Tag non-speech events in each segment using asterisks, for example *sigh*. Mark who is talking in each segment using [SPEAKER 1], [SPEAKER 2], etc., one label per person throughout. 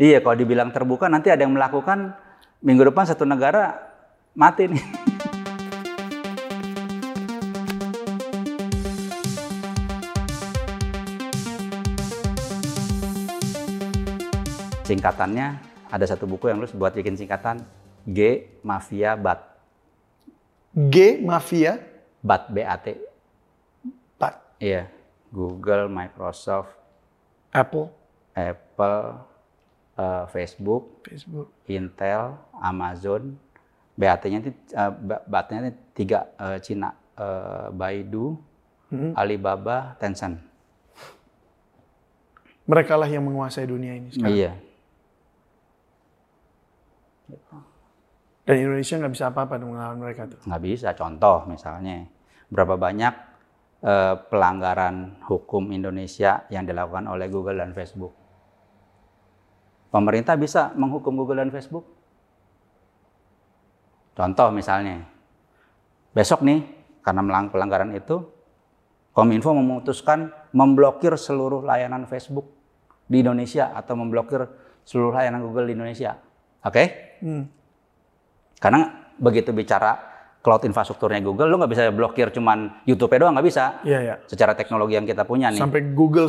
[SPEAKER 1] Iya, kalau dibilang terbuka nanti ada yang melakukan minggu depan satu negara mati nih. Singkatannya ada satu buku yang lu buat bikin singkatan G Mafia Bat
[SPEAKER 2] G mafia
[SPEAKER 1] Bat BAT.
[SPEAKER 2] Bat.
[SPEAKER 1] Iya. Google, Microsoft,
[SPEAKER 2] Apple,
[SPEAKER 1] Apple, eh, Facebook,
[SPEAKER 2] Facebook.
[SPEAKER 1] Intel, Amazon, BAT-nya itu eh, ba- BAT-nya itu tiga eh, Cina, Eh, Baidu,
[SPEAKER 2] Mhm.
[SPEAKER 1] Alibaba, Tencent.
[SPEAKER 2] Mereka lah yang menguasai dunia ini sekarang.
[SPEAKER 1] Iya.
[SPEAKER 2] Dan Indonesia nggak bisa apa-apa dengan melawan mereka tuh.
[SPEAKER 1] nggak bisa. Contoh misalnya, berapa banyak eh, pelanggaran hukum Indonesia yang dilakukan oleh Google dan Facebook? Pemerintah bisa menghukum Google dan Facebook? Contoh misalnya, besok nih karena melang- pelanggaran itu, Kominfo memutuskan memblokir seluruh layanan Facebook di Indonesia atau memblokir seluruh layanan Google di Indonesia. Oke?
[SPEAKER 2] Hmm.
[SPEAKER 1] Karena begitu bicara cloud infrastrukturnya Google, lu nggak bisa blokir cuman YouTube-nya doang nggak bisa.
[SPEAKER 2] Iya ya.
[SPEAKER 1] Secara teknologi yang kita punya nih.
[SPEAKER 2] Sampai Google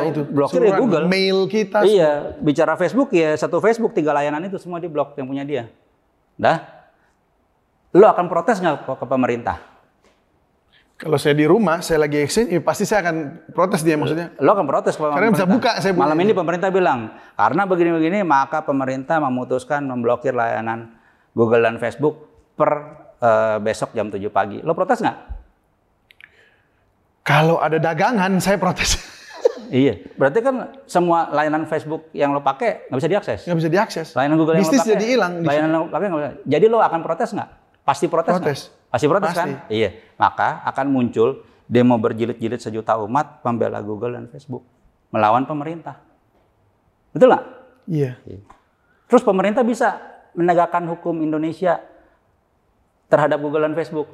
[SPEAKER 1] Iya,
[SPEAKER 2] itu.
[SPEAKER 1] blokir ya
[SPEAKER 2] Seluruh
[SPEAKER 1] Google.
[SPEAKER 2] Mail kita.
[SPEAKER 1] Iya, bicara Facebook ya satu Facebook tiga layanan itu semua di blok yang punya dia. Dah, lu akan protes nggak ke, ke pemerintah?
[SPEAKER 2] Kalau saya di rumah, saya lagi exchange, ya pasti saya akan protes dia maksudnya.
[SPEAKER 1] Lo akan protes ke
[SPEAKER 2] Karena bisa buka, saya
[SPEAKER 1] Malam
[SPEAKER 2] punya.
[SPEAKER 1] ini pemerintah bilang, karena begini-begini maka pemerintah memutuskan memblokir layanan Google dan Facebook per eh, besok jam 7 pagi. Lo protes nggak?
[SPEAKER 2] Kalau ada dagangan, saya protes. *laughs*
[SPEAKER 1] Iya. Berarti kan semua layanan Facebook yang lo pakai nggak bisa diakses.
[SPEAKER 2] Nggak bisa diakses.
[SPEAKER 1] Layanan Google yang
[SPEAKER 2] Bisnis
[SPEAKER 1] lo pakai,
[SPEAKER 2] jadi hilang di
[SPEAKER 1] Layanan lo pakai nggak bisa. Jadi lo akan protes nggak? Pasti protes. nggak?
[SPEAKER 2] Protes.
[SPEAKER 1] Pasti protes
[SPEAKER 2] Pasti.
[SPEAKER 1] kan? Iya. Maka akan muncul demo berjilid-jilid sejuta umat pembela Google dan Facebook melawan pemerintah. Betul nggak?
[SPEAKER 2] Iya.
[SPEAKER 1] Terus pemerintah bisa menegakkan hukum Indonesia terhadap Google dan Facebook.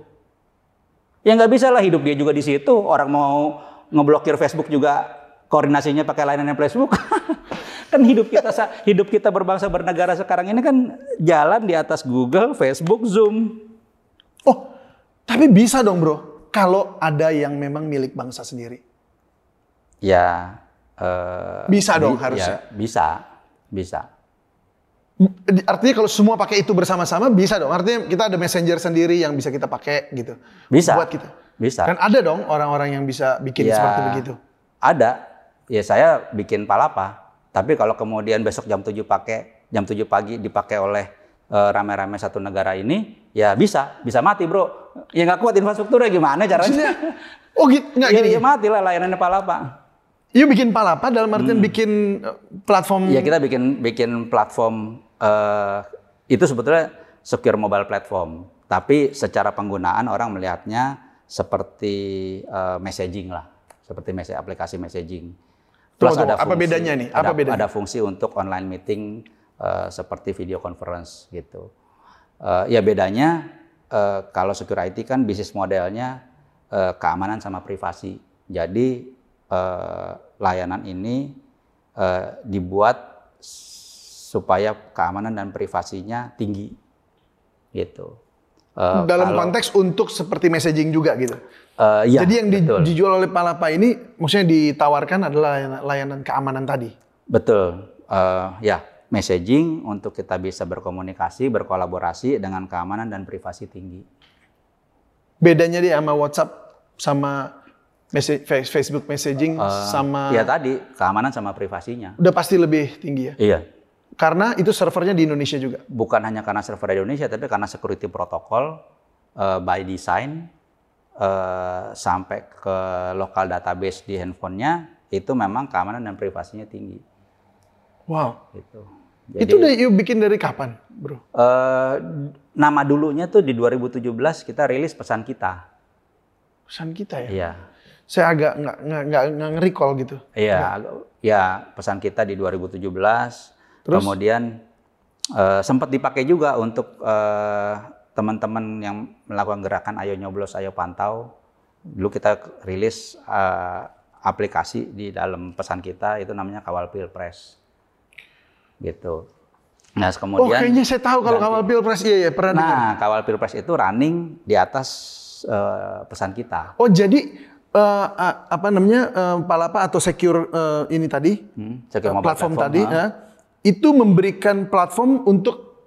[SPEAKER 1] Ya nggak bisa lah hidup dia juga di situ. Orang mau ngeblokir Facebook juga koordinasinya pakai layanan Facebook. *laughs* kan hidup kita sa- hidup kita berbangsa bernegara sekarang ini kan jalan di atas Google, Facebook, Zoom.
[SPEAKER 2] Oh, tapi bisa dong bro. Kalau ada yang memang milik bangsa sendiri.
[SPEAKER 1] Ya. eh,
[SPEAKER 2] Bisa dong
[SPEAKER 1] ya,
[SPEAKER 2] harusnya.
[SPEAKER 1] bisa, bisa.
[SPEAKER 2] Di- Artinya kalau semua pakai itu bersama-sama bisa dong. Artinya kita ada messenger sendiri yang bisa kita pakai gitu.
[SPEAKER 1] Bisa.
[SPEAKER 2] Buat kita.
[SPEAKER 1] Bisa.
[SPEAKER 2] Kan ada dong orang-orang yang bisa bikin
[SPEAKER 1] Ya,
[SPEAKER 2] seperti begitu.
[SPEAKER 1] Ada. Ya saya bikin palapa. Tapi kalau kemudian besok jam 7 pakai jam 7 pagi dipakai oleh eh, rame-rame satu negara ini, ya bisa, bisa mati, Bro. Ya nggak kuat infrastrukturnya gimana *laughs*
[SPEAKER 2] Maksudnya,
[SPEAKER 1] caranya?
[SPEAKER 2] oh gitu, nggak
[SPEAKER 1] ya,
[SPEAKER 2] gini.
[SPEAKER 1] ya mati lah layanannya palapa.
[SPEAKER 2] Yuk bikin palapa dalam
[SPEAKER 1] Hmm.
[SPEAKER 2] artian bikin eh, platform.
[SPEAKER 1] Ya kita bikin bikin platform eh, itu sebetulnya secure mobile platform, tapi secara penggunaan orang melihatnya seperti eh, messaging lah, seperti message aplikasi messaging. Plus
[SPEAKER 2] Tunggu,
[SPEAKER 1] ada
[SPEAKER 2] tunggu, apa
[SPEAKER 1] fungsi-
[SPEAKER 2] bedanya nih? Apa
[SPEAKER 1] ada,
[SPEAKER 2] bedanya?
[SPEAKER 1] ada fungsi untuk online meeting eh, seperti video conference gitu. Eh, ya bedanya eh, kalau secure IT kan bisnis modelnya eh, keamanan sama privasi. Jadi eh, layanan ini eh, dibuat s- supaya keamanan dan privasinya tinggi gitu. Eh,
[SPEAKER 2] dalam
[SPEAKER 1] kalau-
[SPEAKER 2] konteks untuk seperti messaging juga gitu.
[SPEAKER 1] eh, iya,
[SPEAKER 2] Jadi yang di-
[SPEAKER 1] betul.
[SPEAKER 2] dijual oleh Palapa ini maksudnya ditawarkan adalah layanan, layanan keamanan tadi.
[SPEAKER 1] Betul. Eh, ya, messaging untuk kita bisa berkomunikasi, berkolaborasi dengan keamanan dan privasi tinggi.
[SPEAKER 2] Bedanya dia sama WhatsApp sama message, Face- Facebook messaging
[SPEAKER 1] Eh,
[SPEAKER 2] sama
[SPEAKER 1] Ya tadi, keamanan sama privasinya.
[SPEAKER 2] udah pasti lebih tinggi ya.
[SPEAKER 1] Iya.
[SPEAKER 2] Karena itu servernya di Indonesia juga.
[SPEAKER 1] Bukan hanya karena server di Indonesia, tapi karena security protokol eh, by design eh, sampai ke lokal database di handphonenya itu memang keamanan dan privasinya tinggi.
[SPEAKER 2] Wow.
[SPEAKER 1] Gitu.
[SPEAKER 2] itu udah you bikin dari kapan, Bro?
[SPEAKER 1] eh, nama dulunya tuh di 2017 kita rilis pesan kita.
[SPEAKER 2] Pesan kita ya.
[SPEAKER 1] Iya.
[SPEAKER 2] Saya agak nggak nggak nggak nggak nge-recall gitu.
[SPEAKER 1] Iya, ag- ya pesan kita di 2017.
[SPEAKER 2] Terus?
[SPEAKER 1] Kemudian eh, sempat dipakai juga untuk eh, teman-teman yang melakukan gerakan ayo nyoblos ayo pantau. Dulu kita k- rilis eh, aplikasi di dalam pesan kita itu namanya Kawal Pilpres. gitu. Nah,
[SPEAKER 2] Oh
[SPEAKER 1] kemudian
[SPEAKER 2] kayaknya saya tahu kalau kawal pilpres iya ya pernah dengar.
[SPEAKER 1] Nah, kawal pilpres itu running di atas eh, pesan kita.
[SPEAKER 2] Oh jadi eh, a- apa namanya eh, palapa atau secure eh, ini tadi
[SPEAKER 1] Hmm,
[SPEAKER 2] eh,
[SPEAKER 1] secure
[SPEAKER 2] platform,
[SPEAKER 1] mobile
[SPEAKER 2] tadi
[SPEAKER 1] ah.
[SPEAKER 2] eh, itu memberikan platform untuk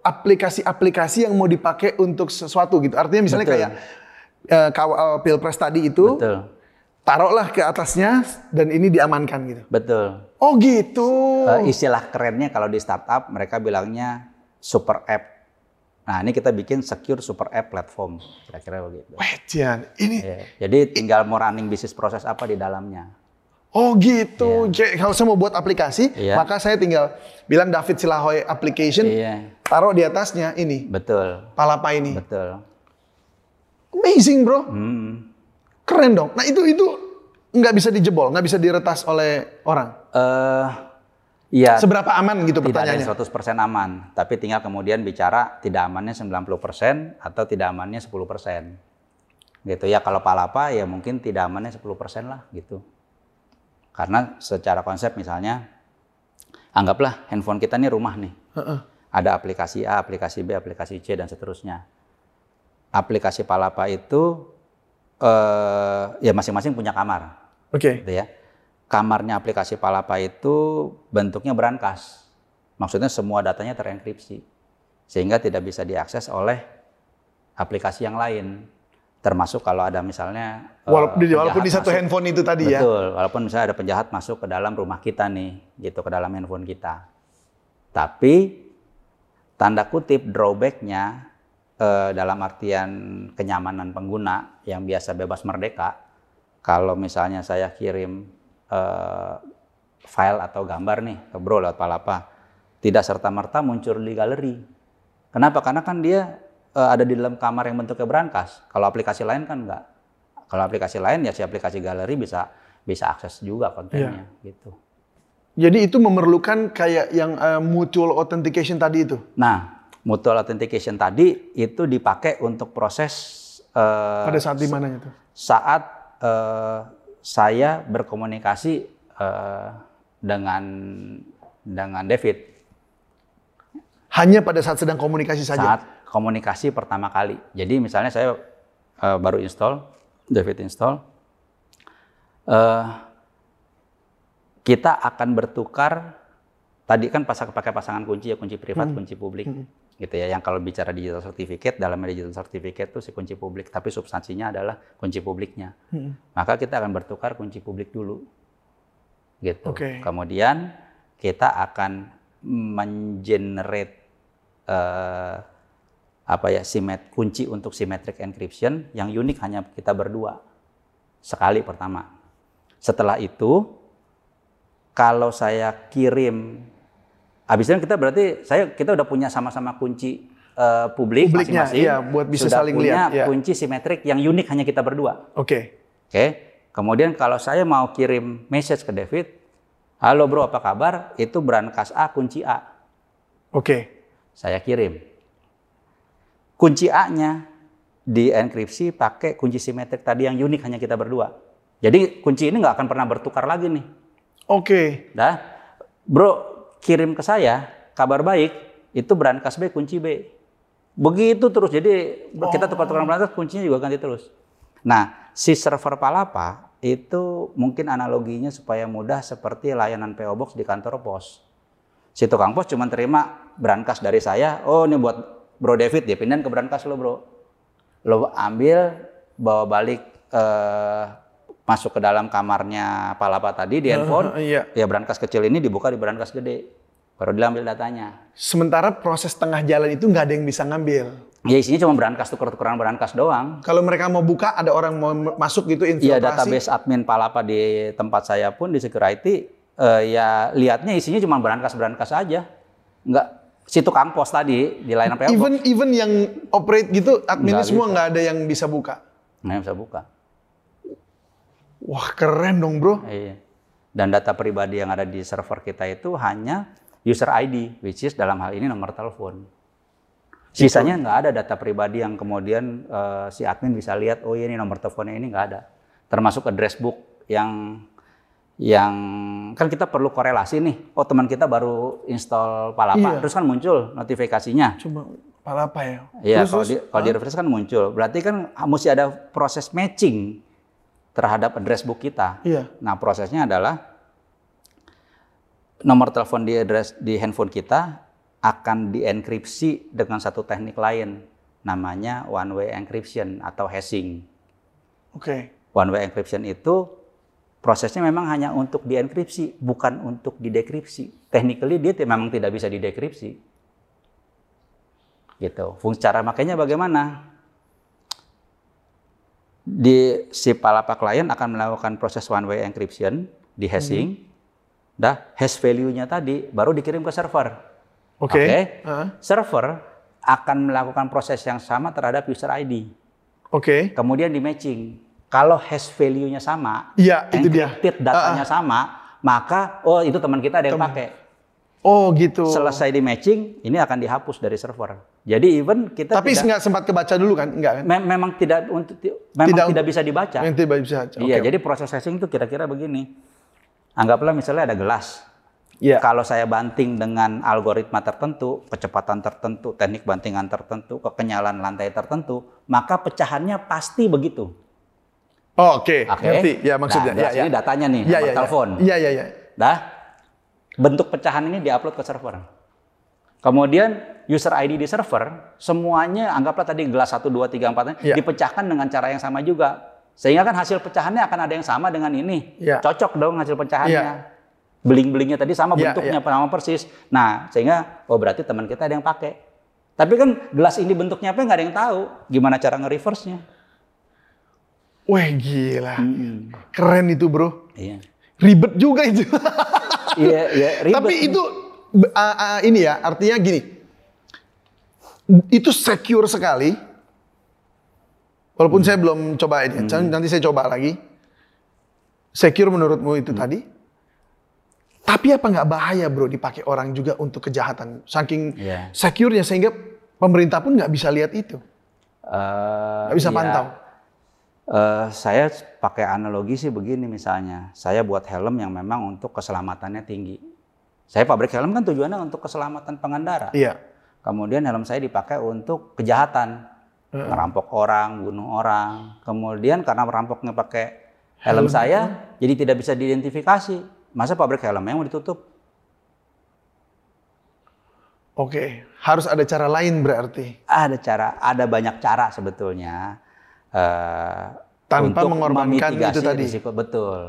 [SPEAKER 2] aplikasi-aplikasi yang mau dipakai untuk sesuatu gitu. Artinya misalnya
[SPEAKER 1] Betul.
[SPEAKER 2] kayak eh, kawal pilpres tadi itu
[SPEAKER 1] Betul,
[SPEAKER 2] taruhlah ke atasnya dan ini diamankan gitu.
[SPEAKER 1] betul.
[SPEAKER 2] Oh gitu.
[SPEAKER 1] Eh, istilah kerennya kalau di startup mereka bilangnya super app. Nah, ini kita bikin secure super app platform, kira-kira begitu.
[SPEAKER 2] Wah, Jian, ini
[SPEAKER 1] Iya. Jadi tinggal mau running bisnis proses apa di dalamnya.
[SPEAKER 2] Oh gitu. Jadi Kalau saya mau buat aplikasi,
[SPEAKER 1] Iya.
[SPEAKER 2] maka saya tinggal bilang David Silahoy application,
[SPEAKER 1] Iya,
[SPEAKER 2] taruh di atasnya ini
[SPEAKER 1] betul,
[SPEAKER 2] palapa ini.
[SPEAKER 1] betul.
[SPEAKER 2] Amazing bro,
[SPEAKER 1] Hmm.
[SPEAKER 2] keren dong. Nah itu itu nggak bisa dijebol, nggak bisa diretas oleh orang.
[SPEAKER 1] Eh, iya,
[SPEAKER 2] Seberapa aman gitu
[SPEAKER 1] tidak ada yang
[SPEAKER 2] pertanyaannya?
[SPEAKER 1] 100% aman, tapi tinggal kemudian bicara tidak amannya 90% atau tidak amannya 10%. Gitu ya, kalau palapa ya mungkin tidak amannya 10% lah gitu. Karena secara konsep misalnya anggaplah handphone kita ini rumah nih.
[SPEAKER 2] Heeh.
[SPEAKER 1] Ada aplikasi A, aplikasi B, aplikasi C dan seterusnya. Aplikasi palapa itu eh ya masing-masing punya kamar
[SPEAKER 2] Oke.
[SPEAKER 1] gitu ya. Kamarnya aplikasi Palapa itu bentuknya berangkas. Maksudnya semua datanya terenkripsi. Sehingga tidak bisa diakses oleh aplikasi yang lain. Termasuk kalau ada misalnya eh,
[SPEAKER 2] Walaupun, di- walaupun
[SPEAKER 1] penjahat
[SPEAKER 2] di satu
[SPEAKER 1] masuk.
[SPEAKER 2] handphone itu tadi ya.
[SPEAKER 1] Betul, walaupun misalnya ada penjahat masuk ke dalam rumah kita nih, gitu ke dalam handphone kita. Tapi tanda kutip drawbacknya eh, dalam artian kenyamanan pengguna yang biasa bebas merdeka, kalau misalnya saya kirim eh, file atau gambar nih ke bro lewat palapa, tidak serta merta muncul di galeri. Kenapa? Karena kan dia eh, ada di dalam kamar yang bentuknya berangkas. Kalau aplikasi lain kan enggak. Kalau aplikasi lain ya si aplikasi galeri bisa bisa akses juga kontennya gitu.
[SPEAKER 2] Jadi itu memerlukan kayak yang eh, mutual authentication tadi itu.
[SPEAKER 1] Nah, mutual authentication tadi itu dipakai untuk proses eh,
[SPEAKER 2] Pada saat di mananya tuh?
[SPEAKER 1] saat eh, saya berkomunikasi eh, dengan dengan David
[SPEAKER 2] Hanya pada saat sedang komunikasi saja.
[SPEAKER 1] saat komunikasi pertama kali. Jadi misalnya saya eh, baru install, David install, eh, kita akan bertukar. Tadi kan pasang pakai pasangan kunci ya kunci privat, kunci publik, gitu ya. Yang kalau bicara digital certificate dalam digital certificate itu si kunci publik, tapi substansinya adalah kunci publiknya.
[SPEAKER 2] Hmm.
[SPEAKER 1] Maka kita akan bertukar kunci publik dulu, gitu.
[SPEAKER 2] Oke.
[SPEAKER 1] Kemudian kita akan mengenerate eh, apa ya simet kunci untuk symmetric encryption yang unik hanya kita berdua sekali pertama. Setelah itu kalau saya kirim habis itu kan kita berarti saya kita udah punya sama-sama kunci eh, publik
[SPEAKER 2] Publiknya,
[SPEAKER 1] masing-masing.
[SPEAKER 2] iya, buat bisa
[SPEAKER 1] Sudah
[SPEAKER 2] saling
[SPEAKER 1] punya
[SPEAKER 2] lihat, iya.
[SPEAKER 1] kunci simetrik yang unik hanya kita berdua.
[SPEAKER 2] Oke.
[SPEAKER 1] Oke. Kemudian kalau saya mau kirim message ke David, "Halo bro, apa kabar?" Itu brankas A kunci A.
[SPEAKER 2] Oke.
[SPEAKER 1] Saya kirim. Kunci A-nya dienkripsi pakai kunci simetrik tadi yang unik hanya kita berdua. Jadi kunci ini nggak akan pernah bertukar lagi nih.
[SPEAKER 2] Oke.
[SPEAKER 1] Dah, bro kirim ke saya kabar baik itu brankas B kunci B. Begitu terus jadi kita tukar-tukar brankas kuncinya juga ganti terus. Nah si server Palapa itu mungkin analoginya supaya mudah seperti layanan PO Box di kantor pos. Si tukang pos cuma terima brankas dari saya. Oh ini buat Bro David dia pindahin ke brankas lo bro. Lo ambil bawa balik eh, masuk ke dalam kamarnya Palapa tadi di handphone
[SPEAKER 2] Eh, Iya.
[SPEAKER 1] ya brankas kecil ini dibuka di brankas gede baru diambil datanya
[SPEAKER 2] Sementara proses tengah jalan itu nggak ada yang bisa ngambil.
[SPEAKER 1] ya isinya cuma brankas tuker-tukeran brankas doang
[SPEAKER 2] Kalau mereka mau buka, ada orang mau m- masuk gitu
[SPEAKER 1] Iya
[SPEAKER 2] infiltrasi.
[SPEAKER 1] database admin Palapa di tempat saya pun di security eh, ya lihatnya isinya cuma brankas-brankas aja nggak si tukang pos tadi di layanan PO
[SPEAKER 2] even even yang operate gitu, adminnya
[SPEAKER 1] Nggak
[SPEAKER 2] semua nggak ada yang bisa buka.
[SPEAKER 1] nggak Nah, bisa buka
[SPEAKER 2] Wah keren dong bro.
[SPEAKER 1] Iya. dan data pribadi yang ada di server kita itu hanya user ID which is dalam hal ini nomor telepon sisanya nggak ada data pribadi yang kemudian eh, si admin bisa lihat oh iya ini nomor teleponnya ini nggak ada termasuk address book yang yang kan kita perlu korelasi nih. Oh teman kita baru install Palapa,
[SPEAKER 2] Iya.
[SPEAKER 1] terus kan muncul notifikasinya.
[SPEAKER 2] Coba palapa ya.
[SPEAKER 1] Iya,
[SPEAKER 2] Terus,
[SPEAKER 1] kalau
[SPEAKER 2] terus,
[SPEAKER 1] di kalau di reference kan muncul. Berarti kan mesti ada proses matching terhadap address book kita.
[SPEAKER 2] Iya.
[SPEAKER 1] Nah, prosesnya adalah nomor telepon di address di handphone kita akan dienkripsi dengan satu teknik lain namanya one way encryption atau hashing.
[SPEAKER 2] Oke.
[SPEAKER 1] One way encryption itu prosesnya memang hanya untuk dienkripsi, bukan untuk didekripsi. Technically dia ti- memang tidak bisa didekripsi. Gitu. Fungsi cara makanya bagaimana? Di si palapa klien akan melakukan proses one way encryption di hashing. Dah hash value-nya tadi baru dikirim ke server.
[SPEAKER 2] Oke.
[SPEAKER 1] Oke.
[SPEAKER 2] Ah,
[SPEAKER 1] Server akan melakukan proses yang sama terhadap user ID.
[SPEAKER 2] Oke.
[SPEAKER 1] Kemudian di matching. Kalau hash value-nya sama,
[SPEAKER 2] Iya, itu dia. ah.
[SPEAKER 1] encrypted datanya sama, maka oh itu teman kita ada yang pakai.
[SPEAKER 2] Oh gitu.
[SPEAKER 1] Selesai di matching, ini akan dihapus dari server. Jadi even kita
[SPEAKER 2] Tapi
[SPEAKER 1] tidak,
[SPEAKER 2] nggak sempat kebaca dulu kan? Enggak kan?
[SPEAKER 1] me- memang tidak untuk memang
[SPEAKER 2] Tidak
[SPEAKER 1] tidak,
[SPEAKER 2] untuk-
[SPEAKER 1] bisa dibaca.
[SPEAKER 2] Yang tidak bisa baca.
[SPEAKER 1] Iya,
[SPEAKER 2] Oke.
[SPEAKER 1] jadi proses hashing itu kira-kira begini. Anggaplah misalnya ada gelas.
[SPEAKER 2] Iya.
[SPEAKER 1] Kalau saya banting dengan algoritma tertentu, kecepatan tertentu, teknik bantingan tertentu, kekenyalan lantai tertentu, maka pecahannya pasti begitu.
[SPEAKER 2] Oh, Oke.
[SPEAKER 1] Oke.
[SPEAKER 2] Ngerti. Ya
[SPEAKER 1] Nah,
[SPEAKER 2] maksudnya.
[SPEAKER 1] jelas
[SPEAKER 2] ya, ya.
[SPEAKER 1] ini datanya nih,
[SPEAKER 2] ya,
[SPEAKER 1] nomor
[SPEAKER 2] ya, ya.
[SPEAKER 1] telepon.
[SPEAKER 2] Iya, iya, iya.
[SPEAKER 1] Dah. Bentuk pecahan ini diupload ke server. Kemudian user ID di server semuanya anggaplah tadi gelas 1 2 3 4
[SPEAKER 2] Ya.
[SPEAKER 1] dipecahkan dengan cara yang sama juga. Sehingga kan hasil pecahannya akan ada yang sama dengan ini.
[SPEAKER 2] Ya.
[SPEAKER 1] Cocok dong hasil pecahannya.
[SPEAKER 2] Ya.
[SPEAKER 1] Beling-belingnya tadi sama
[SPEAKER 2] Ya,
[SPEAKER 1] bentuknya sama persis. Nah, sehingga oh berarti teman kita ada yang pakai. Tapi kan gelas ini bentuknya apa nggak ada yang tahu gimana cara nge-reverse-nya.
[SPEAKER 2] Wah gila.
[SPEAKER 1] Hmm.
[SPEAKER 2] Keren itu bro.
[SPEAKER 1] Iya.
[SPEAKER 2] Ribet juga itu. *laughs*
[SPEAKER 1] Iya, iya, ribet.
[SPEAKER 2] Tapi itu be- ah, ah, ini ya artinya gini. Itu secure sekali. Walaupun
[SPEAKER 1] Hmm.
[SPEAKER 2] saya belum coba ini, nanti saya coba lagi. Secure menurutmu
[SPEAKER 1] Hmm.
[SPEAKER 2] itu tadi? Tapi apa nggak bahaya bro dipakai orang juga untuk kejahatan? Saking
[SPEAKER 1] Iya.
[SPEAKER 2] secure-nya sehingga pemerintah pun nggak bisa lihat itu,
[SPEAKER 1] Eh,
[SPEAKER 2] nggak bisa
[SPEAKER 1] iya.
[SPEAKER 2] pantau.
[SPEAKER 1] Eh, saya pakai analogi sih begini misalnya, saya buat helm yang memang untuk keselamatannya tinggi. Saya pabrik helm kan tujuannya untuk keselamatan pengendara.
[SPEAKER 2] Iya.
[SPEAKER 1] Kemudian helm saya dipakai untuk kejahatan, merampok orang, bunuh orang. Kemudian karena merampoknya pakai helm, saya, jadi tidak bisa diidentifikasi. Masa pabrik helmnya mau ditutup?
[SPEAKER 2] Oke, harus ada cara lain berarti.
[SPEAKER 1] ada cara, ada banyak cara sebetulnya eh,
[SPEAKER 2] Tanpa
[SPEAKER 1] untuk
[SPEAKER 2] mengorbankan
[SPEAKER 1] memitigasi
[SPEAKER 2] itu tadi.
[SPEAKER 1] risiko betul.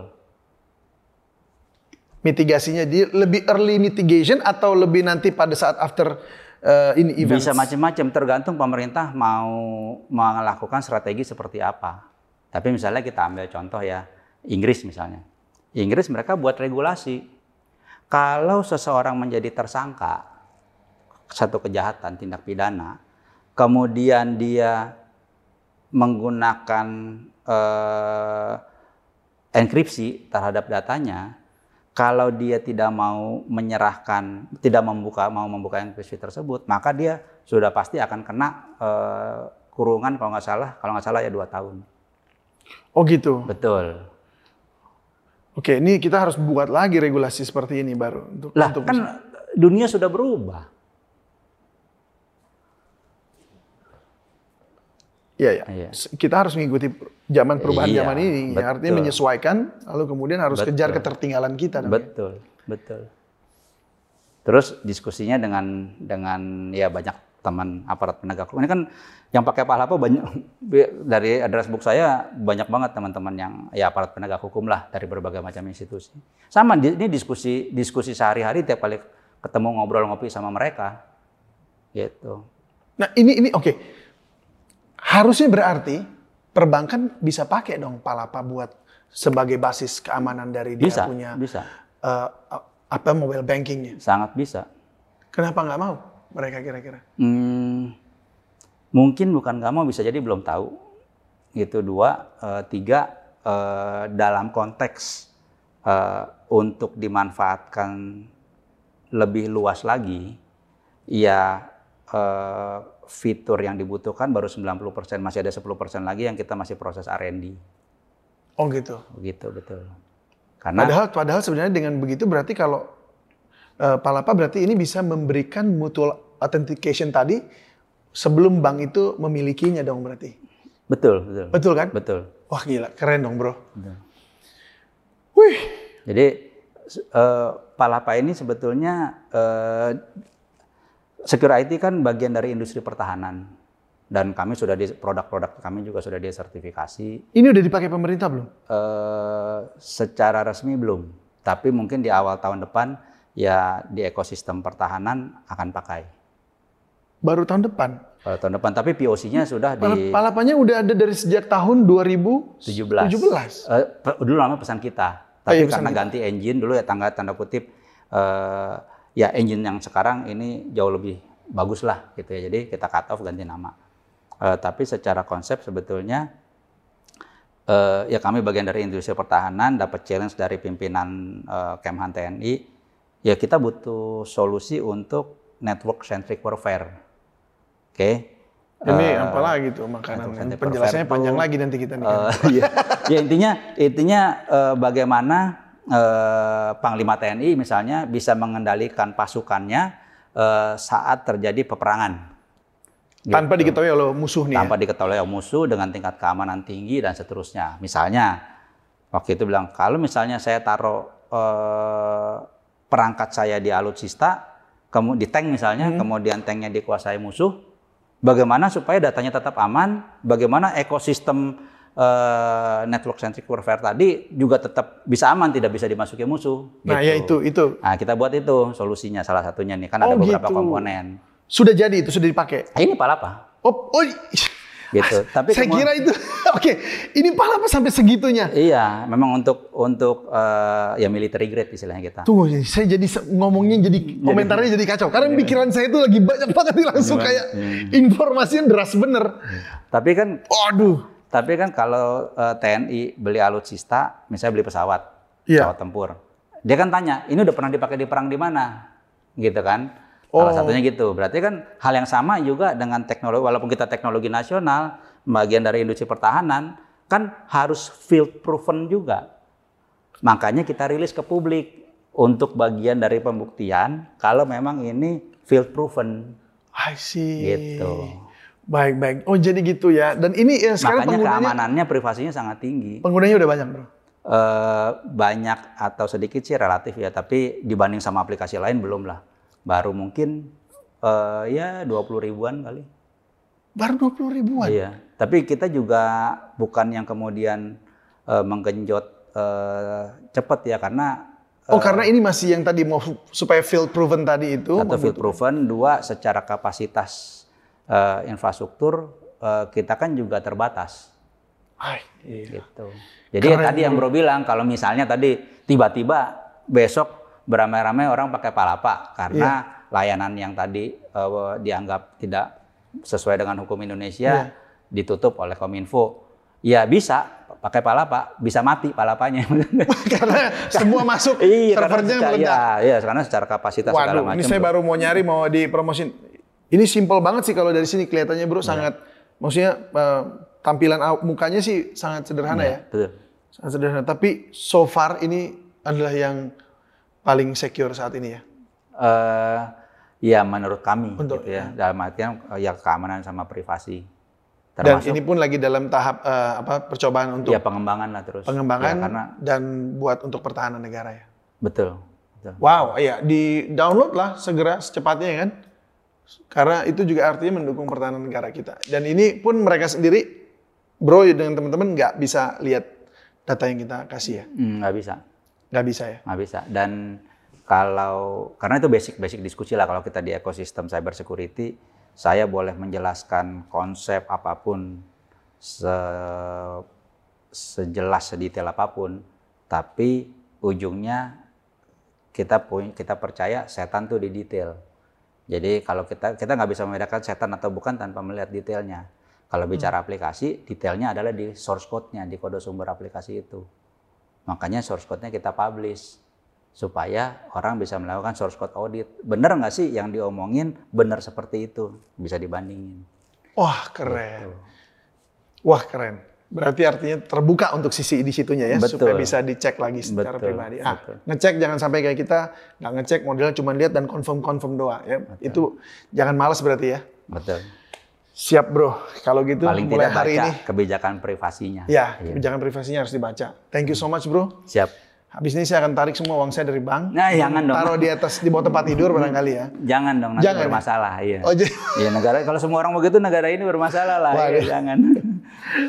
[SPEAKER 2] mitigasinya di lebih early mitigation atau lebih nanti pada saat after uh, ini event.
[SPEAKER 1] Bisa macam-macam tergantung pemerintah mau melakukan strategi seperti apa. Tapi misalnya kita ambil contoh ya, Inggris misalnya. Inggris mereka buat regulasi. Kalau seseorang menjadi tersangka satu kejahatan tindak pidana, kemudian dia menggunakan eh, enkripsi terhadap datanya, kalau dia tidak mau menyerahkan, tidak membuka mau membuka enkripsi tersebut, maka dia sudah pasti akan kena eh, kurungan kalau nggak salah, kalau nggak salah ya dua tahun.
[SPEAKER 2] Oh gitu.
[SPEAKER 1] Betul.
[SPEAKER 2] Oke, ini kita harus buat lagi regulasi seperti ini baru untuk
[SPEAKER 1] Lah
[SPEAKER 2] untuk-
[SPEAKER 1] kan dunia sudah berubah.
[SPEAKER 2] Iya, iya.
[SPEAKER 1] Iya.
[SPEAKER 2] S- Kita harus mengikuti per- zaman perubahan
[SPEAKER 1] Iya,
[SPEAKER 2] zaman ini,
[SPEAKER 1] betul.
[SPEAKER 2] artinya menyesuaikan lalu kemudian harus kejar ketertinggalan kita dong.
[SPEAKER 1] Betul, betul. Terus diskusinya dengan dengan ya banyak teman aparat penegak hukum. Ini kan yang pakai palapa banyak *laughs* dari address book saya banyak banget teman-teman yang ya aparat penegak hukum lah dari berbagai macam institusi. Sama di- ini diskusi diskusi sehari-hari tiap kali ketemu ngobrol ngopi sama mereka. Gitu.
[SPEAKER 2] Nah, ini ini oke. Harusnya berarti perbankan bisa pakai dong Palapa buat sebagai basis keamanan dari dia
[SPEAKER 1] Bisa,
[SPEAKER 2] punya
[SPEAKER 1] bisa.
[SPEAKER 2] uh, apa mobile bankingnya.
[SPEAKER 1] Sangat bisa.
[SPEAKER 2] Kenapa nggak mau mereka kira-kira?
[SPEAKER 1] Hmm, mungkin bukan nggak mau bisa jadi belum tahu. Gitu dua, Eh, tiga eh, dalam konteks eh, untuk dimanfaatkan lebih luas lagi, ya eh, fitur yang dibutuhkan baru 90% masih ada 10% lagi yang kita masih proses R&D.
[SPEAKER 2] Oh gitu.
[SPEAKER 1] Begitu betul. Karena
[SPEAKER 2] Padahal padahal sebenarnya dengan begitu berarti kalau eh, Palapa berarti ini bisa memberikan mutual authentication tadi sebelum bank itu memilikinya dong berarti.
[SPEAKER 1] betul, betul.
[SPEAKER 2] Betul kan?
[SPEAKER 1] Betul.
[SPEAKER 2] Wah gila, keren dong bro.
[SPEAKER 1] betul.
[SPEAKER 2] Wih,
[SPEAKER 1] Jadi se- eh, Palapa ini sebetulnya eh, secure IT kan bagian dari industri pertahanan dan kami sudah di produk-produk kami juga sudah disertifikasi
[SPEAKER 2] ini udah dipakai pemerintah belum?
[SPEAKER 1] eh secara resmi belum, tapi mungkin di awal tahun depan ya di ekosistem pertahanan akan pakai
[SPEAKER 2] Baru tahun depan.
[SPEAKER 1] Eh, tahun depan. Tapi POC-nya sudah
[SPEAKER 2] Pala-
[SPEAKER 1] di
[SPEAKER 2] Palapanya udah ada dari sejak tahun 2017.
[SPEAKER 1] 17. Eh, pe- dulu lama pesan kita,
[SPEAKER 2] Oh,
[SPEAKER 1] tapi
[SPEAKER 2] iya, pesan
[SPEAKER 1] karena ganti engine dulu ya tangga tanda kutip eh, ya engine yang sekarang ini jauh lebih bagus lah gitu ya. Jadi kita cut off ganti nama. Eh, tapi secara konsep sebetulnya eh, ya kami bagian dari industri pertahanan dapat challenge dari pimpinan eh, Kemhan TNI ya kita butuh solusi untuk network centric warfare. Oke.
[SPEAKER 2] Ini
[SPEAKER 1] Eh,
[SPEAKER 2] apa lagi tuh
[SPEAKER 1] satu
[SPEAKER 2] makanan?
[SPEAKER 1] senti per
[SPEAKER 2] Penjelasannya
[SPEAKER 1] vertu.
[SPEAKER 2] panjang lagi nanti kita nih. kan.
[SPEAKER 1] Eh, *laughs* iya. ya intinya intinya eh, bagaimana eh, Panglima TNI misalnya bisa mengendalikan pasukannya eh, saat terjadi peperangan gitu.
[SPEAKER 2] Tanpa diketahui oleh musuh nih. ya.
[SPEAKER 1] tanpa diketahui oleh musuh dengan tingkat keamanan tinggi dan seterusnya. Misalnya waktu itu bilang kalau misalnya saya taruh eh, perangkat saya di alutsista, kemu- di tank misalnya,
[SPEAKER 2] Hmm.
[SPEAKER 1] kemudian tanknya dikuasai musuh, bagaimana supaya datanya tetap aman? Bagaimana ekosistem eh, network centric warfare tadi juga tetap bisa aman, tidak bisa dimasuki musuh?
[SPEAKER 2] Nah,
[SPEAKER 1] gitu.
[SPEAKER 2] ya itu itu
[SPEAKER 1] Nah, kita buat itu solusinya salah satunya nih kan ada
[SPEAKER 2] Oh,
[SPEAKER 1] beberapa
[SPEAKER 2] gitu.
[SPEAKER 1] komponen.
[SPEAKER 2] sudah jadi itu sudah dipakai.
[SPEAKER 1] Nah, ini palapa
[SPEAKER 2] Oh, oh.
[SPEAKER 1] gitu. *laughs* Tapi
[SPEAKER 2] Ah, saya
[SPEAKER 1] kemu-
[SPEAKER 2] kira itu. *laughs* Oke, ini Palapa sampai segitunya.
[SPEAKER 1] Iya, memang untuk untuk eh, ya military grade istilahnya kita.
[SPEAKER 2] Tunggu, saya jadi se- ngomongnya jadi komentarnya jadi kacau. Karena
[SPEAKER 1] Iya.
[SPEAKER 2] pikiran saya itu lagi banyak *laughs* banget nih langsung kayak informasinya deras bener.
[SPEAKER 1] Tapi kan
[SPEAKER 2] Aduh.
[SPEAKER 1] tapi kan kalau eh, TNI beli alutsista, misalnya beli pesawat,
[SPEAKER 2] Iya.
[SPEAKER 1] pesawat tempur, dia kan tanya, ini udah pernah dipakai di perang di mana, gitu kan?
[SPEAKER 2] Oh.
[SPEAKER 1] Salah satunya gitu. Berarti kan hal yang sama juga dengan teknologi, walaupun kita teknologi nasional, bagian dari industri pertahanan, kan harus field proven juga. Makanya kita rilis ke publik untuk bagian dari pembuktian kalau memang ini field proven.
[SPEAKER 2] I see.
[SPEAKER 1] Gitu.
[SPEAKER 2] Baik, baik. Oh, jadi gitu ya. Dan ini ya, sekarang
[SPEAKER 1] Makanya
[SPEAKER 2] penggunanya
[SPEAKER 1] keamanannya, privasinya sangat tinggi.
[SPEAKER 2] penggunanya udah banyak, Bro.
[SPEAKER 1] Eh, banyak atau sedikit sih relatif ya, tapi dibanding sama aplikasi lain belum lah. Baru mungkin eh, ya 20 ribuan kali.
[SPEAKER 2] Baru 20 ribuan.
[SPEAKER 1] Iya. Tapi kita juga bukan yang kemudian eh, menggenjot eh, cepat ya, karena
[SPEAKER 2] Oh, karena ini masih yang tadi mau supaya field proven tadi itu.
[SPEAKER 1] satu field proven, dua secara kapasitas eh, infrastruktur eh, kita kan juga terbatas.
[SPEAKER 2] Ay, *laughs* iya.
[SPEAKER 1] gitu. Jadi ya tadi yang Bro bilang kalau misalnya tadi tiba-tiba besok beramai-ramai orang pakai palapa
[SPEAKER 2] Iya.
[SPEAKER 1] karena layanan yang tadi eh, dianggap tidak sesuai dengan hukum
[SPEAKER 2] Iya.
[SPEAKER 1] Indonesia ditutup oleh Kominfo. Ya bisa pakai palapa, bisa mati palapanya. *laughs*
[SPEAKER 2] karena semua masuk Iya, servernya
[SPEAKER 1] secara,
[SPEAKER 2] meledak.
[SPEAKER 1] ya, iya, karena secara kapasitas segala
[SPEAKER 2] Waduh,
[SPEAKER 1] macam.
[SPEAKER 2] ini saya
[SPEAKER 1] Bro.
[SPEAKER 2] baru mau nyari mau dipromosin. Ini simple banget sih kalau dari sini kelihatannya
[SPEAKER 1] Iya.
[SPEAKER 2] bro sangat, maksudnya eh, tampilan aw- mukanya sih sangat sederhana ya,
[SPEAKER 1] Betul.
[SPEAKER 2] sangat sederhana. Tapi so far ini adalah yang paling secure saat ini ya.
[SPEAKER 1] Eh, ya menurut kami
[SPEAKER 2] Untuk-
[SPEAKER 1] gitu ya. Dalam artian eh, ya keamanan sama privasi.
[SPEAKER 2] Dan
[SPEAKER 1] Termasuk
[SPEAKER 2] ini pun lagi dalam tahap eh, apa percobaan untuk
[SPEAKER 1] ya pengembangan lah terus.
[SPEAKER 2] pengembangan
[SPEAKER 1] Ya, karena
[SPEAKER 2] dan buat untuk pertahanan negara ya.
[SPEAKER 1] betul. betul.
[SPEAKER 2] Wow, iya di download lah segera secepatnya ya kan. Karena itu juga artinya mendukung pertahanan negara kita. Dan ini pun mereka sendiri, bro dengan teman-teman nggak bisa lihat data yang kita kasih ya,
[SPEAKER 1] Hmm, Nggak bisa,
[SPEAKER 2] nggak bisa ya.
[SPEAKER 1] nggak bisa. Dan kalau karena itu basic-basic diskusi lah kalau kita di ekosistem cyber security, saya boleh menjelaskan konsep apapun se- sejelas sedetail apapun, tapi ujungnya kita punya kita percaya setan tuh di detail. Jadi kalau kita kita nggak bisa membedakan setan atau bukan tanpa melihat detailnya.
[SPEAKER 2] Hmm.
[SPEAKER 1] Kalau bicara aplikasi, detailnya adalah di source code-nya, di kode sumber aplikasi itu. Makanya source code-nya kita publish supaya orang bisa melakukan source code audit. Bener nggak sih yang diomongin bener seperti itu? Bisa dibandingin.
[SPEAKER 2] Wah keren, wah keren. Berarti artinya terbuka untuk sisi di situnya ya,
[SPEAKER 1] Betul.
[SPEAKER 2] supaya bisa dicek lagi secara
[SPEAKER 1] Betul,
[SPEAKER 2] pribadi. Ah,
[SPEAKER 1] betul.
[SPEAKER 2] ngecek jangan sampai kayak kita nggak ngecek modelnya cuma lihat dan confirm confirm doa ya. Itu jangan malas berarti ya.
[SPEAKER 1] Betul.
[SPEAKER 2] Siap bro, kalau gitu
[SPEAKER 1] Paling tidak
[SPEAKER 2] mulai
[SPEAKER 1] baca
[SPEAKER 2] hari ini.
[SPEAKER 1] kebijakan privasinya.
[SPEAKER 2] Ya,
[SPEAKER 1] Iya.
[SPEAKER 2] kebijakan privasinya harus dibaca. Thank you so much bro.
[SPEAKER 1] Siap.
[SPEAKER 2] Habis ini saya akan tarik semua uang saya dari bank.
[SPEAKER 1] Nah, jangan dong.
[SPEAKER 2] Taruh di atas, di bawah tempat tidur barangkali ya.
[SPEAKER 1] Jangan dong nanti
[SPEAKER 2] Jangan ya?
[SPEAKER 1] bermasalah, iya.
[SPEAKER 2] Oh, jadi-
[SPEAKER 1] Iya, negara kalau semua orang begitu negara ini bermasalah lah. Iya,
[SPEAKER 2] Waduh.
[SPEAKER 1] jangan.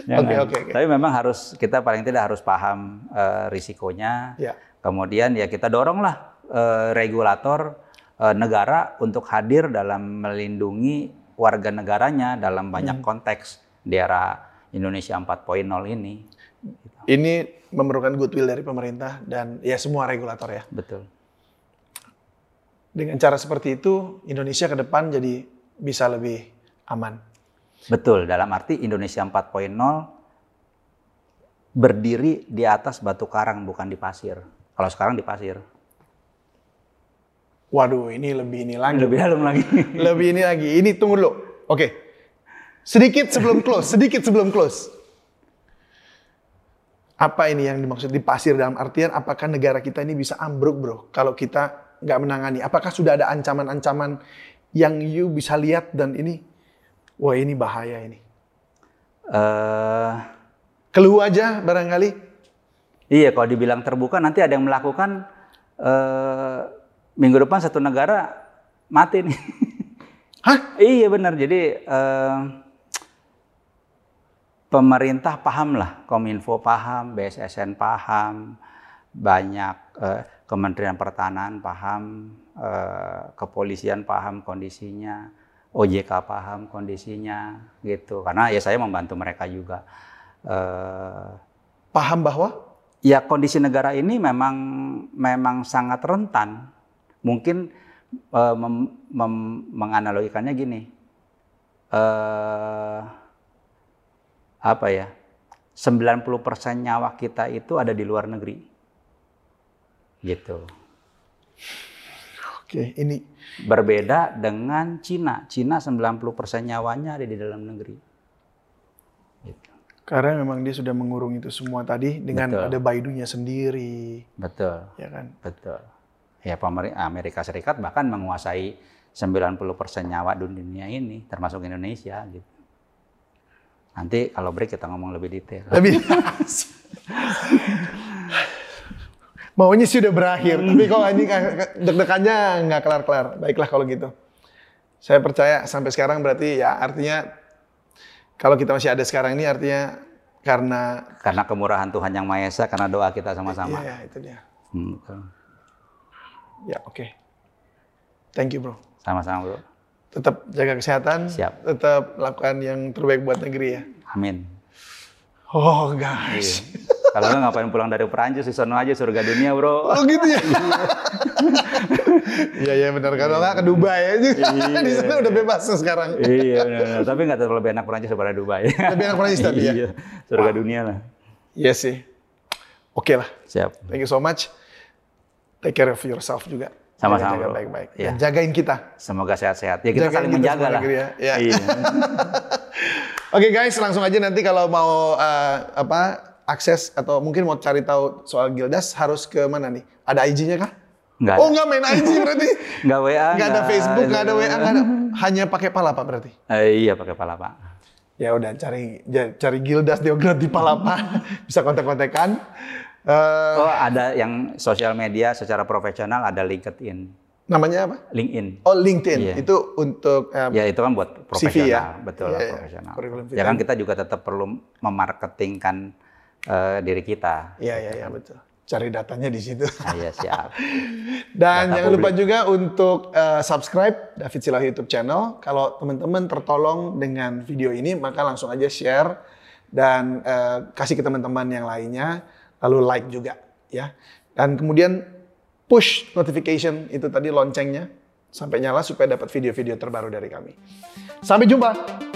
[SPEAKER 1] Jangan.
[SPEAKER 2] *laughs* Oke, oke, oke.
[SPEAKER 1] Tapi memang harus kita paling tidak harus paham eh, risikonya.
[SPEAKER 2] *laughs* Ya.
[SPEAKER 1] Kemudian ya kita doronglah eh, regulator eh, negara untuk hadir dalam melindungi warga negaranya dalam banyak
[SPEAKER 2] Hmm.
[SPEAKER 1] konteks di era Indonesia 4.0 ini.
[SPEAKER 2] Ini memerlukan goodwill dari pemerintah dan ya semua regulator ya.
[SPEAKER 1] Betul.
[SPEAKER 2] Dengan cara seperti itu, Indonesia ke depan jadi bisa lebih aman.
[SPEAKER 1] Betul, dalam arti Indonesia 4.0 berdiri di atas batu karang bukan di pasir. Kalau sekarang di pasir.
[SPEAKER 2] Waduh, ini lebih ini lagi.
[SPEAKER 1] Lebih dalam lagi.
[SPEAKER 2] Lebih ini lagi. Ini tunggu dulu. Oke. Sedikit sebelum close, sedikit sebelum close. Apa ini yang dimaksud di pasir dalam artian apakah negara kita ini bisa ambruk, Bro? Kalau kita nggak menangani, apakah sudah ada ancaman-ancaman yang you bisa lihat dan ini wah ini bahaya ini.
[SPEAKER 1] Eh,
[SPEAKER 2] Keluh aja barangkali.
[SPEAKER 1] iya, kalau dibilang terbuka nanti ada yang melakukan eh, minggu depan satu negara mati nih. *laughs*
[SPEAKER 2] Hah?
[SPEAKER 1] iya benar. Jadi eh, pemerintah paham lah, Kominfo paham, BSSN paham, banyak eh, Kementerian Pertahanan paham, eh, kepolisian paham kondisinya, OJK paham kondisinya, gitu. Karena ya saya membantu mereka juga. Eh,
[SPEAKER 2] Paham bahwa
[SPEAKER 1] ya kondisi negara ini memang memang sangat rentan. Mungkin eh, mem- mem- menganalogikannya gini, eh apa ya? 90% nyawa kita itu ada di luar negeri. Gitu.
[SPEAKER 2] Oke, ini
[SPEAKER 1] Berbeda dengan Cina. Cina 90% nyawanya ada di dalam negeri. Gitu.
[SPEAKER 2] karena memang dia sudah mengurung itu semua tadi dengan
[SPEAKER 1] Betul.
[SPEAKER 2] ada Baidunya sendiri,
[SPEAKER 1] Betul.
[SPEAKER 2] ya kan?
[SPEAKER 1] Betul. Ya pemer- Amerika Serikat bahkan menguasai 90% nyawa dunia ini termasuk Indonesia gitu. Nanti kalau break kita ngomong lebih detail.
[SPEAKER 2] Tapi maunya sih udah berakhir, tapi kok anjing deg-degannya nggak kelar-kelar. Baiklah kalau gitu. Saya percaya sampai sekarang berarti ya artinya kalau kita masih ada sekarang ini artinya karena
[SPEAKER 1] Karena kemurahan Tuhan Yang Maha Esa karena doa kita
[SPEAKER 2] Iya,
[SPEAKER 1] sama-sama.
[SPEAKER 2] ya, itu dia.
[SPEAKER 1] Hmm, betul.
[SPEAKER 2] Ya, oke. Thank you, Bro.
[SPEAKER 1] Sama-sama, Bro.
[SPEAKER 2] Tetap jaga kesehatan,
[SPEAKER 1] Siap.
[SPEAKER 2] tetap lakukan yang terbaik buat negeri ya.
[SPEAKER 1] Amin.
[SPEAKER 2] Oh, guys.
[SPEAKER 1] Iya. Kalau nggak ngapain pulang dari Perancis di sono aja surga dunia, Bro.
[SPEAKER 2] Oh gitu
[SPEAKER 1] *laughs*
[SPEAKER 2] ya. Iya iya benar kalau nggak ke Dubai ya. *laughs* Di sana udah bebas tuh sekarang.
[SPEAKER 1] iya, benar-benar. tapi nggak terlalu lebih enak Perancis daripada Dubai.
[SPEAKER 2] Lebih enak Perancis tadi ya?
[SPEAKER 1] Iya, surga dunia lah.
[SPEAKER 2] Iya sih. Oke lah.
[SPEAKER 1] Siap.
[SPEAKER 2] Thank you so much. Take care of yourself juga.
[SPEAKER 1] Sama-sama,
[SPEAKER 2] Jaga
[SPEAKER 1] bro.
[SPEAKER 2] baik-baik.
[SPEAKER 1] Iya.
[SPEAKER 2] Dan jagain kita.
[SPEAKER 1] Semoga sehat-sehat. Ya kita saling
[SPEAKER 2] Jagain kita
[SPEAKER 1] menjaga
[SPEAKER 2] semua
[SPEAKER 1] lah.
[SPEAKER 2] negeri ya. Iya.
[SPEAKER 1] Iya.
[SPEAKER 2] Oke guys, langsung aja nanti kalau mau eh, apa akses atau mungkin mau cari tahu soal Gildas harus ke mana nih? Ada IG-nya kah?
[SPEAKER 1] Nggak
[SPEAKER 2] Oh
[SPEAKER 1] ada.
[SPEAKER 2] nggak main IG berarti.
[SPEAKER 1] *laughs* Nggak WA.
[SPEAKER 2] Nggak ada Facebook, nggak ada WA, nggak
[SPEAKER 1] *laughs*
[SPEAKER 2] ada. Hanya pakai pala pak berarti.
[SPEAKER 1] Eh, iya pakai pala pak.
[SPEAKER 2] ya udah cari ja- cari Gildas Deograd di Palapa bisa kontak-kontakan Eh,
[SPEAKER 1] Oh ada yang sosial media secara profesional ada LinkedIn.
[SPEAKER 2] namanya apa
[SPEAKER 1] LinkedIn.
[SPEAKER 2] oh LinkedIn
[SPEAKER 1] Iya.
[SPEAKER 2] itu untuk eh,
[SPEAKER 1] Ya itu kan buat profesional,
[SPEAKER 2] ya?
[SPEAKER 1] betul
[SPEAKER 2] Iya,
[SPEAKER 1] lah,
[SPEAKER 2] iya.
[SPEAKER 1] profesional.
[SPEAKER 2] Kurikulum
[SPEAKER 1] Ya kan kita juga tetap perlu memarketingkan eh, diri kita.
[SPEAKER 2] ya ya ya betul cari datanya di situ *laughs*
[SPEAKER 1] Ah, Iya siap.
[SPEAKER 2] dan
[SPEAKER 1] Data
[SPEAKER 2] jangan lupa juga untuk eh, subscribe David Silah YouTube channel kalau teman-teman tertolong dengan video ini maka langsung aja share dan eh, kasih ke teman-teman yang lainnya lalu like juga ya dan kemudian push notification itu tadi loncengnya sampai nyala supaya dapat video-video terbaru dari kami. Sampai jumpa.